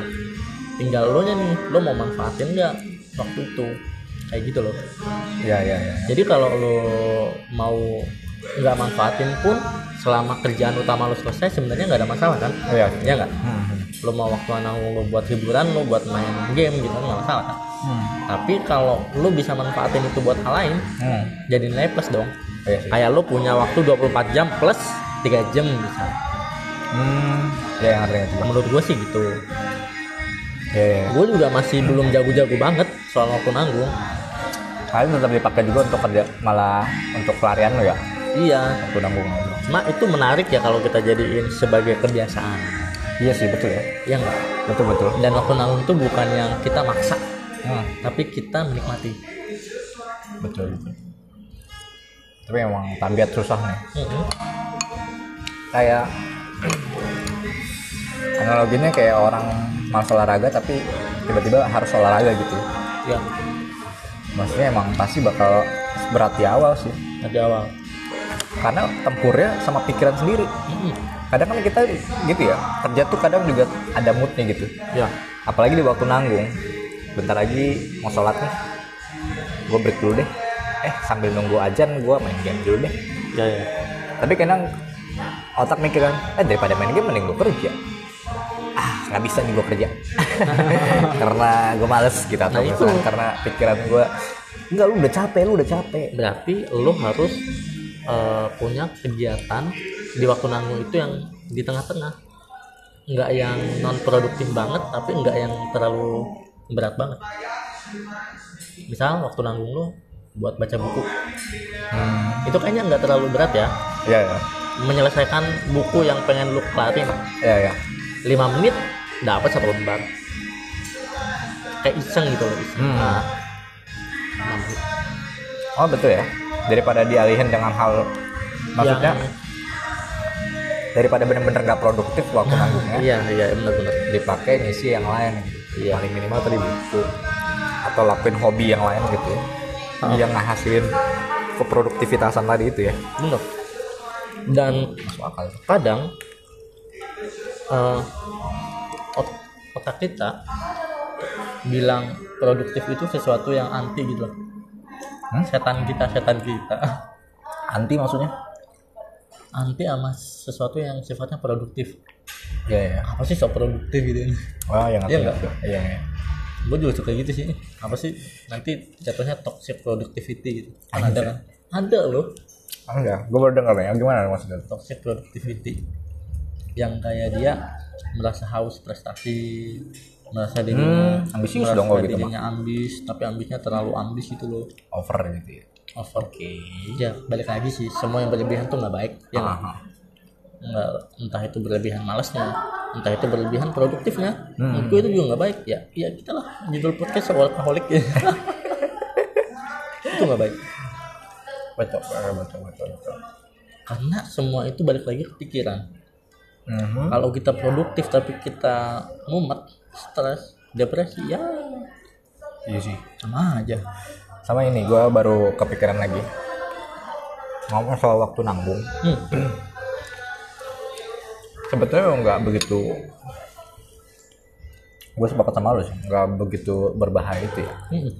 [SPEAKER 2] tinggal lo nya nih lo mau manfaatin nggak waktu itu kayak gitu loh
[SPEAKER 1] Ya ya ya.
[SPEAKER 2] jadi kalau lo mau nggak manfaatin pun selama kerjaan utama lo selesai sebenarnya nggak ada masalah kan
[SPEAKER 1] Iya.
[SPEAKER 2] ya nggak lo mau waktu nanggung lo buat hiburan lo buat main game gitu kan nggak masalah kan
[SPEAKER 1] Hmm.
[SPEAKER 2] tapi kalau lo bisa manfaatin itu buat hal lain jadi nilai plus dong
[SPEAKER 1] Hmm. Iya sih.
[SPEAKER 2] kayak lo punya waktu 24 jam plus 3 jam misalnya
[SPEAKER 1] Hmm. Ya yang sering itu.
[SPEAKER 2] menurut gue sih gitu
[SPEAKER 1] Ya ya.
[SPEAKER 2] gue juga masih belum jago-jago banget soal waktu nanggung
[SPEAKER 1] Kalian tetap dipakai juga untuk kerja malah untuk pelarian lo ya.
[SPEAKER 2] iya
[SPEAKER 1] Waktu nanggung lo.
[SPEAKER 2] cuma itu menarik ya kalau kita jadiin sebagai kebiasaan
[SPEAKER 1] Iya sih betul ya.
[SPEAKER 2] ya enggak
[SPEAKER 1] Betul betul.
[SPEAKER 2] dan waktu nanggung itu bukan yang kita maksa
[SPEAKER 1] Hmm.
[SPEAKER 2] tapi kita menikmati
[SPEAKER 1] Betul betul. Tapi emang tabiat susah nih.
[SPEAKER 2] Mhm.
[SPEAKER 1] kayak analoginya kayak orang malas olahraga tapi tiba-tiba harus olahraga gitu
[SPEAKER 2] ya
[SPEAKER 1] maksudnya emang pasti bakal berat di awal sih
[SPEAKER 2] dari awal
[SPEAKER 1] karena tempurnya sama pikiran sendiri
[SPEAKER 2] Mm-mm.
[SPEAKER 1] kadang kan kita gitu ya kerja tuh kadang juga ada moodnya gitu
[SPEAKER 2] ya
[SPEAKER 1] apalagi di waktu nanggung bentar lagi mau sholat nih gue break dulu deh eh sambil nunggu ajan gue main game dulu deh
[SPEAKER 2] ya ya
[SPEAKER 1] tapi kadang otak mikir kan eh daripada main game mending gue kerja ah nggak bisa nih gue kerja karena gue males gitu atau
[SPEAKER 2] Nah, itu.
[SPEAKER 1] misalkan karena pikiran gue enggak lu udah capek lu udah capek
[SPEAKER 2] berarti lo harus eh, punya kegiatan di waktu nanggung itu yang di tengah-tengah nggak yang non produktif banget tapi nggak yang terlalu berat banget misal waktu nanggung lo buat baca buku
[SPEAKER 1] hmm.
[SPEAKER 2] itu kayaknya nggak terlalu berat ya
[SPEAKER 1] ya ya
[SPEAKER 2] menyelesaikan buku yang pengen lo kelarin
[SPEAKER 1] ya ya
[SPEAKER 2] 5 menit dapat satu lembar kayak iseng gitu loh iseng
[SPEAKER 1] Hmm.
[SPEAKER 2] Nah, enam menit.
[SPEAKER 1] oh betul ya daripada dialihin dengan hal maksudnya
[SPEAKER 2] Yang-
[SPEAKER 1] daripada bener-bener gak produktif waktu nanggungnya
[SPEAKER 2] iya iya benar-benar
[SPEAKER 1] dipakai ngisi yang lain
[SPEAKER 2] Iya.
[SPEAKER 1] paling minimal tadi buku atau lakuin hobi yang lain gitu ya
[SPEAKER 2] Ah.
[SPEAKER 1] yang ngehasilin keproduktivitasan tadi itu ya
[SPEAKER 2] benar dan
[SPEAKER 1] masuk akal tuh.
[SPEAKER 2] kadang eh, ot- otak kita bilang produktif itu sesuatu yang anti gitu loh
[SPEAKER 1] Hmm?
[SPEAKER 2] setan kita setan kita
[SPEAKER 1] anti maksudnya
[SPEAKER 2] anti sama sesuatu yang sifatnya produktif
[SPEAKER 1] iya iya
[SPEAKER 2] apa sih so produktif gitu
[SPEAKER 1] oh yang
[SPEAKER 2] Iya nggak?
[SPEAKER 1] iya iya
[SPEAKER 2] gue juga suka gitu sih apa sih nanti jatuhnya toxic productivity gitu kan ada kan ada loh
[SPEAKER 1] Ah, enggak gue baru dengar ya gimana maksudnya tuh
[SPEAKER 2] toxic productivity yang kayak dia merasa haus prestasi merasa dirinya
[SPEAKER 1] Hmm, ambisius
[SPEAKER 2] merasa
[SPEAKER 1] dong kalau gitu,
[SPEAKER 2] dirinya ambis tapi ambisnya terlalu ambis gitu loh
[SPEAKER 1] over gitu ya
[SPEAKER 2] over ya balik lagi sih semua yang berlebihan tuh nggak baik ya nggak?
[SPEAKER 1] Aha.
[SPEAKER 2] Nggak, entah itu berlebihan malasnya entah itu berlebihan produktifnya
[SPEAKER 1] Hmm.
[SPEAKER 2] menurut gue itu juga nggak baik ya ya kita lah judul podcast soal alkoholik ya itu nggak baik
[SPEAKER 1] betul eh, betul betul betul
[SPEAKER 2] karena semua itu balik lagi ke pikiran
[SPEAKER 1] Mhm.
[SPEAKER 2] kalau kita produktif tapi kita mumet stres depresi ya
[SPEAKER 1] iya sih
[SPEAKER 2] sama aja
[SPEAKER 1] sama ini gue baru kepikiran lagi ngomong soal waktu nanggung
[SPEAKER 2] hmm.
[SPEAKER 1] sebetulnya nggak begitu gue sepakat sama lu sih nggak begitu berbahaya itu ya
[SPEAKER 2] hmm.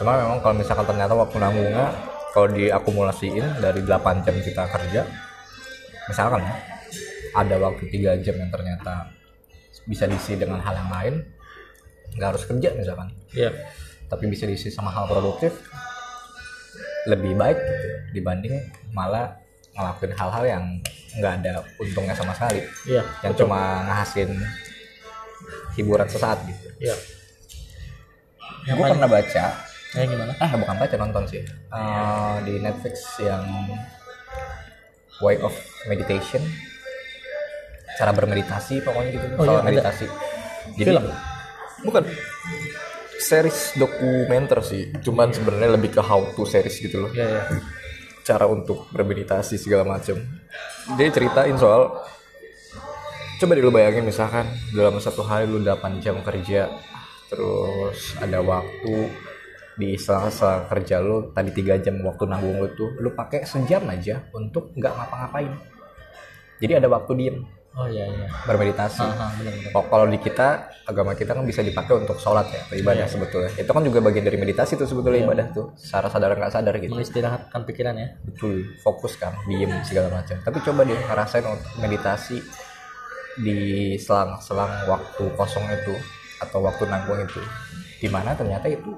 [SPEAKER 1] cuma memang kalau misalkan ternyata waktu nanggungnya kalau diakumulasiin dari 8 jam kita kerja misalkan ya ada waktu 3 jam yang ternyata bisa diisi dengan hal yang lain nggak harus kerja misalkan
[SPEAKER 2] ya
[SPEAKER 1] tapi bisa diisi sama hal produktif lebih baik gitu dibanding malah ngelakuin hal-hal yang nggak ada untungnya sama sekali
[SPEAKER 2] ya
[SPEAKER 1] yang cuma ngehasin hiburan sesaat gitu.
[SPEAKER 2] ya
[SPEAKER 1] Gue pernah baca,
[SPEAKER 2] kayak gimana
[SPEAKER 1] ah bukan baca nonton sih, Eh, di Netflix yang Way of Meditation, cara bermeditasi pokoknya gitu,
[SPEAKER 2] Oh,
[SPEAKER 1] soal
[SPEAKER 2] iya, ada.
[SPEAKER 1] meditasi.
[SPEAKER 2] Film?
[SPEAKER 1] Bukan series dokumenter sih, cuman sebenarnya lebih ke how to series gitu loh.
[SPEAKER 2] ya ya
[SPEAKER 1] cara untuk bermeditasi segala macam. Dia ceritain soal coba deh lu bayangin misalkan dalam satu hari lu 8 jam kerja terus ada waktu di sela-sela kerja lu tadi tiga jam waktu nanggung lu tuh lu pakai sejam aja untuk nggak ngapa-ngapain jadi ada waktu diem
[SPEAKER 2] oh ya ya
[SPEAKER 1] bermeditasi
[SPEAKER 2] Aha, benar benar
[SPEAKER 1] Kok kalau di kita agama kita kan bisa dipakai untuk sholat ya atau ibadah sebetulnya itu kan juga bagian dari meditasi tuh sebetulnya ibadah tuh secara sadar nggak sadar gitu
[SPEAKER 2] mengistirahatkan pikiran ya
[SPEAKER 1] betul fokus kan diem segala macam tapi coba deh ngerasain untuk meditasi di selang-selang waktu kosong itu atau waktu nanggung itu dimana ternyata itu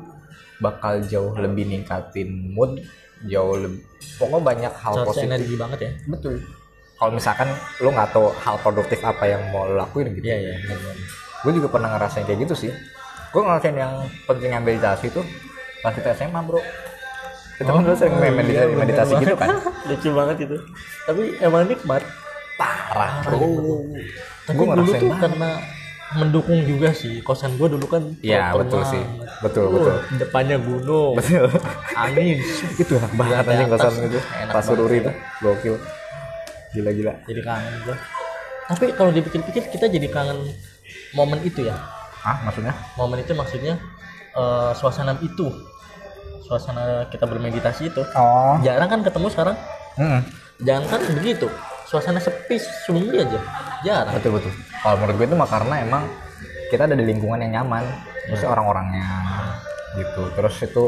[SPEAKER 1] bakal jauh lebih ningkatin mood jauh lebih pokoknya banyak hal
[SPEAKER 2] seharusnya
[SPEAKER 1] positif
[SPEAKER 2] energi banget ya
[SPEAKER 1] betul kalau misalkan lo nggak tahu hal produktif apa yang mau lo lakuin gitu
[SPEAKER 2] iya iya benar benar
[SPEAKER 1] gue juga pernah ngerasain kayak gitu sih gue ngerasain yang penting meditasi itu pas kita SMA bro kita kan dulu
[SPEAKER 2] Oh.
[SPEAKER 1] sering main meditasi, meditasi gitu kan
[SPEAKER 2] Iya, lucu banget itu tapi emang nikmat
[SPEAKER 1] parah
[SPEAKER 2] Oh. Tapi
[SPEAKER 1] Gua
[SPEAKER 2] dulu
[SPEAKER 1] ngerasain
[SPEAKER 2] tuh
[SPEAKER 1] banget.
[SPEAKER 2] karena mendukung juga sih kosan gue dulu kan
[SPEAKER 1] Iya,
[SPEAKER 2] kotor
[SPEAKER 1] betul sih.
[SPEAKER 2] banget.
[SPEAKER 1] Betul,
[SPEAKER 2] Uh,
[SPEAKER 1] betul.
[SPEAKER 2] depannya gunung
[SPEAKER 1] betul
[SPEAKER 2] angin
[SPEAKER 1] itu enak banget
[SPEAKER 2] Di
[SPEAKER 1] anjing
[SPEAKER 2] atas.
[SPEAKER 1] kosan itu
[SPEAKER 2] Enak
[SPEAKER 1] pasur
[SPEAKER 2] banget.
[SPEAKER 1] uri itu gokil gila gila
[SPEAKER 2] jadi kangen gue tapi kalau dipikir-pikir kita jadi kangen momen itu ya
[SPEAKER 1] ah maksudnya
[SPEAKER 2] momen itu maksudnya eh, suasana itu suasana kita bermeditasi itu
[SPEAKER 1] oh
[SPEAKER 2] jarang kan ketemu sekarang
[SPEAKER 1] Mm-mm.
[SPEAKER 2] jangan kan begitu suasana sepi sunyi aja jarang
[SPEAKER 1] betul betul kalau menurut gue itu mah karena emang kita ada di lingkungan yang nyaman terus orang-orangnya gitu terus itu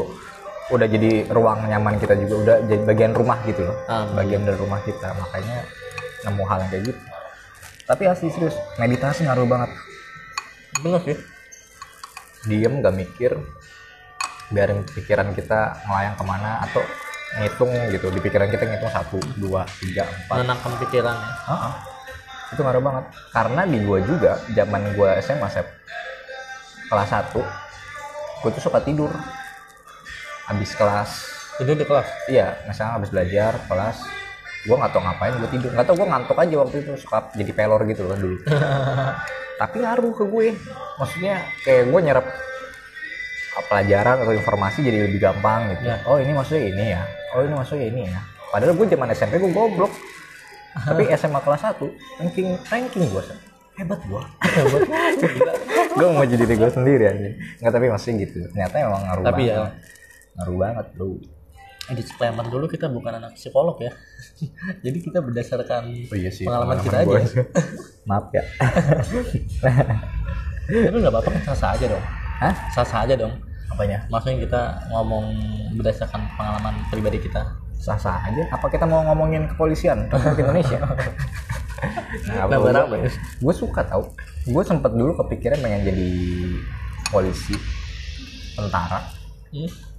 [SPEAKER 1] udah jadi ruang nyaman kita juga udah jadi bagian rumah gitu loh
[SPEAKER 2] Ah,
[SPEAKER 1] bagian dari rumah kita makanya nemu hal yang kayak gitu tapi asli serius meditasi ngaruh banget
[SPEAKER 2] bener sih
[SPEAKER 1] diem gak mikir biarin pikiran kita melayang kemana atau ngitung gitu di pikiran kita ngitung satu dua tiga empat
[SPEAKER 2] menenangkan pikirannya
[SPEAKER 1] Heeh. Itu ngaruh banget. Karena di gua juga zaman gua SMA Sep, kelas 1 gua tuh suka tidur. Habis kelas,
[SPEAKER 2] tidur di kelas
[SPEAKER 1] iya, misalnya habis belajar kelas gua nggak tau ngapain gua tidur nggak tau gua ngantuk aja waktu itu suka jadi pelor gitu loh dulu tapi ngaruh ke gue maksudnya kayak gue nyerap ah, pelajaran atau informasi jadi lebih gampang gitu
[SPEAKER 2] Ya.
[SPEAKER 1] oh ini maksudnya ini ya oh ini maksudnya ini ya padahal gue zaman SMP gue goblok tapi SMA kelas 1 ranking ranking gue hebat gue
[SPEAKER 2] Hebat
[SPEAKER 1] gue mau jadi diri gue sendiri aja nggak tapi maksudnya gitu ternyata emang ngaruh
[SPEAKER 2] Tapi
[SPEAKER 1] banget
[SPEAKER 2] ya.
[SPEAKER 1] ngaruh banget bro
[SPEAKER 2] Eh, disclaimer dulu kita bukan anak psikolog ya jadi kita berdasarkan Oh iya pengalaman, kita aja
[SPEAKER 1] maaf ya
[SPEAKER 2] tapi nggak apa-apa kan sah aja dong
[SPEAKER 1] hah
[SPEAKER 2] sah aja dong
[SPEAKER 1] apanya
[SPEAKER 2] maksudnya kita ngomong berdasarkan pengalaman pribadi kita
[SPEAKER 1] sah-sah aja apa kita mau ngomongin kepolisian Republik Indonesia nah,
[SPEAKER 2] Nah, barang apa ya?
[SPEAKER 1] gue suka tau gue sempet dulu kepikiran pengen jadi polisi tentara
[SPEAKER 2] Hmm?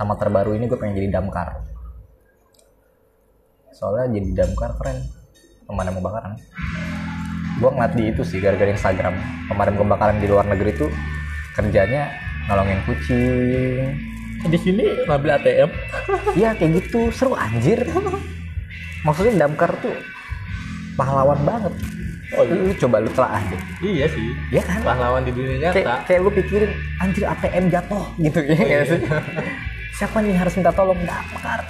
[SPEAKER 1] sama terbaru ini gue pengen jadi damkar soalnya jadi damkar keren pemadam kebakaran gue ngeliat di itu sih gara-gara Instagram pemadam kebakaran di luar negeri tuh kerjanya nolongin kucing
[SPEAKER 2] di sini ngambil ATM
[SPEAKER 1] Iya kayak gitu seru anjir. Maksudnya damkar tuh pahlawan banget.
[SPEAKER 2] Oh,
[SPEAKER 1] Lu coba lu telah deh.
[SPEAKER 2] iya sih
[SPEAKER 1] Iya kan?
[SPEAKER 2] pahlawan di dunia
[SPEAKER 1] Kayak,
[SPEAKER 2] nyata
[SPEAKER 1] kayak lu pikirin anjir ATM jatuh gitu ya nggak sih? Siapa nih harus minta tolong damkar?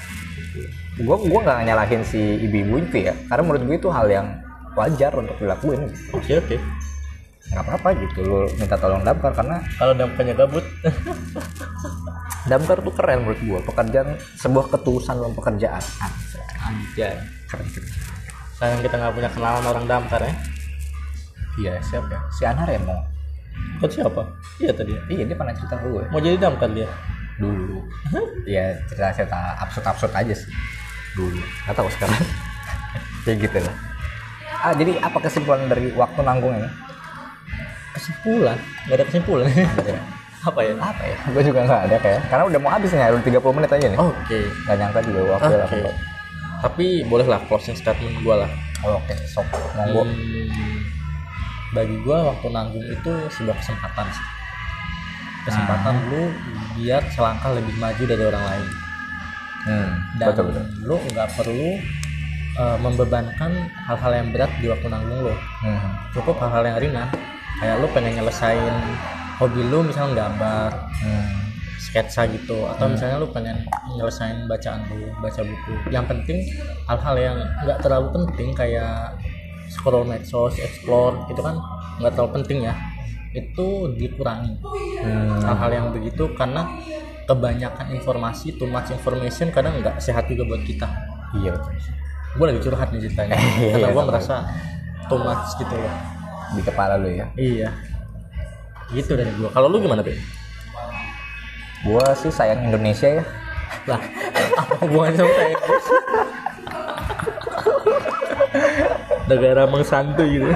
[SPEAKER 1] Gua gua nggak nyalahin si ibu-ibu itu ya. Karena menurut gue itu hal yang wajar untuk dilakuin.
[SPEAKER 2] oke oke
[SPEAKER 1] Nggak apa-apa gitu lu minta tolong damkar karena
[SPEAKER 2] kalau dampaknya gabut
[SPEAKER 1] damkar tuh keren menurut gua. Pekerjaan sebuah ketulusan dalam pekerjaan. Ah,
[SPEAKER 2] anjay
[SPEAKER 1] Keren keren.
[SPEAKER 2] sayang kita nggak punya kenalan orang damkar ya
[SPEAKER 1] Iya siapa ya? Si Anar ya mau
[SPEAKER 2] kau siapa iya tadi ya.
[SPEAKER 1] Iya dia pernah cerita ke gue
[SPEAKER 2] mau jadi damkar dia
[SPEAKER 1] dulu. Iya cerita cerita absurd absurd aja sih dulu. Gak tahu sekarang. Kayak gitu lah. Ah jadi apa kesimpulan dari waktu nanggung ini?
[SPEAKER 2] kesimpulan nggak ada kesimpulan apa ya
[SPEAKER 1] Apa ya? Gue juga nggak ada kayak. Karena udah mau habis nih, udah 30 menit aja nih.
[SPEAKER 2] oke
[SPEAKER 1] Gak nyangka juga waktu
[SPEAKER 2] Oke.
[SPEAKER 1] lah.
[SPEAKER 2] Tapi bolehlah closing statement gue lah.
[SPEAKER 1] Oh, Oke, sok monggo.
[SPEAKER 2] Hmm, bagi gue waktu nanggung itu sebuah kesempatan sih. Kesempatan
[SPEAKER 1] Nah.
[SPEAKER 2] lu biar selangkah lebih maju dari orang lain.
[SPEAKER 1] Hmm,
[SPEAKER 2] Dan
[SPEAKER 1] betul betul.
[SPEAKER 2] lu nggak perlu eh, membebankan hal-hal yang berat di waktu nanggung lu.
[SPEAKER 1] Hmm.
[SPEAKER 2] Cukup hal-hal yang ringan. Kayak lu pengen nyelesain hobi lu misalnya gambar,
[SPEAKER 1] Hmm.
[SPEAKER 2] sketsa gitu atau misalnya lu pengen nyelesain bacaan lu baca buku yang penting hal-hal yang nggak terlalu penting kayak scroll medsos explore itu kan nggak terlalu penting ya itu dikurangi
[SPEAKER 1] Hmm.
[SPEAKER 2] hal-hal yang begitu karena kebanyakan informasi too much information kadang nggak sehat juga buat kita
[SPEAKER 1] Iya betul. sih.
[SPEAKER 2] gue lagi curhat nih ceritanya
[SPEAKER 1] Iya,
[SPEAKER 2] karena gue
[SPEAKER 1] sama.
[SPEAKER 2] merasa too much gitu loh
[SPEAKER 1] Di kepala lu ya.
[SPEAKER 2] iya gitu dari gue kalau lu gimana Be?
[SPEAKER 1] Gua sih sayang Indonesia ya.
[SPEAKER 2] lah apa hubungannya sama saya negara mengsantu gitu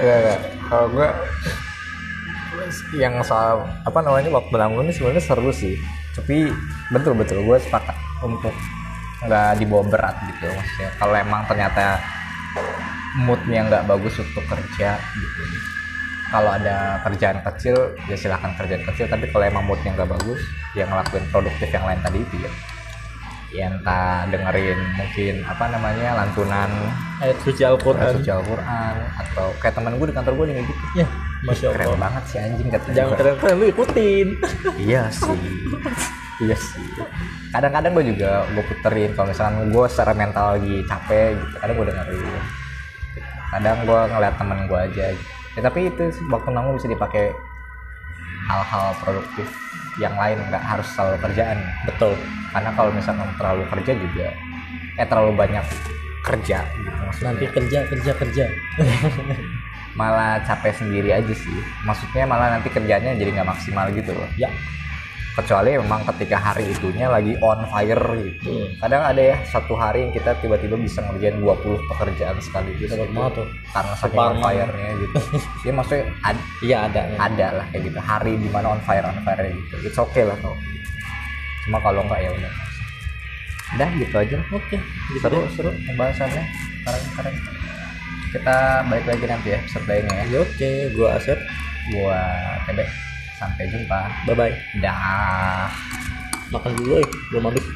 [SPEAKER 1] Enggak, enggak. Iya, Kalau gue yang soal apa namanya waktu nanggung ini sebenarnya seru sih. Tapi betul betul gue sepakat untuk nggak dibawa berat gitu maksudnya. Kalau emang ternyata moodnya nggak bagus untuk kerja gitu. Kalau ada kerjaan kecil ya silahkan kerjaan kecil. Tapi kalau emang moodnya nggak bagus, ya ngelakuin produktif yang lain tadi itu ya. Ya entah dengerin mungkin apa namanya lantunan
[SPEAKER 2] ayat suci
[SPEAKER 1] Quran
[SPEAKER 2] Al-Quran
[SPEAKER 1] suci Al-Quran atau kayak teman gue di kantor gue nih kayak gitu
[SPEAKER 2] ya Masya
[SPEAKER 1] keren
[SPEAKER 2] Allah
[SPEAKER 1] banget sih anjing katanya
[SPEAKER 2] jangan
[SPEAKER 1] Gua.
[SPEAKER 2] keren-keren lu ikutin
[SPEAKER 1] iya sih iya sih kadang-kadang gue juga gue puterin kalau misalkan gue secara mental lagi capek gitu kadang gue dengerin kadang gue ngeliat temen gue aja gitu. ya, tapi itu sih, waktu nanggung bisa dipakai hal-hal produktif yang lain nggak harus selalu kerjaan
[SPEAKER 2] betul
[SPEAKER 1] karena kalau misalkan terlalu kerja juga eh terlalu banyak kerja gitu maksudnya
[SPEAKER 2] nanti kerja kerja kerja
[SPEAKER 1] malah capek sendiri aja sih maksudnya malah nanti kerjanya jadi nggak maksimal gitu loh
[SPEAKER 2] ya
[SPEAKER 1] kecuali memang ketika hari itunya lagi on fire gitu
[SPEAKER 2] Hmm.
[SPEAKER 1] kadang ada ya satu hari yang kita tiba-tiba bisa ngerjain 20 pekerjaan sekaligus
[SPEAKER 2] dapat
[SPEAKER 1] gitu.
[SPEAKER 2] banget tuh
[SPEAKER 1] karena saking on
[SPEAKER 2] Sepanjang.
[SPEAKER 1] fire-nya gitu ya maksudnya ad-
[SPEAKER 2] iya ada ya.
[SPEAKER 1] ada lah kayak gitu hari dimana on fire on fire gitu it's okay lah kalau gitu. cuma kalau nggak ya udah udah gitu aja lah.
[SPEAKER 2] oke gitu
[SPEAKER 1] seru
[SPEAKER 2] deh.
[SPEAKER 1] seru pembahasannya keren keren kita balik lagi nanti ya episode lainnya ya
[SPEAKER 2] Ya, oke gua Asep
[SPEAKER 1] gua tebe sampai jumpa
[SPEAKER 2] bye bye
[SPEAKER 1] dah
[SPEAKER 2] makan dulu eh belum habis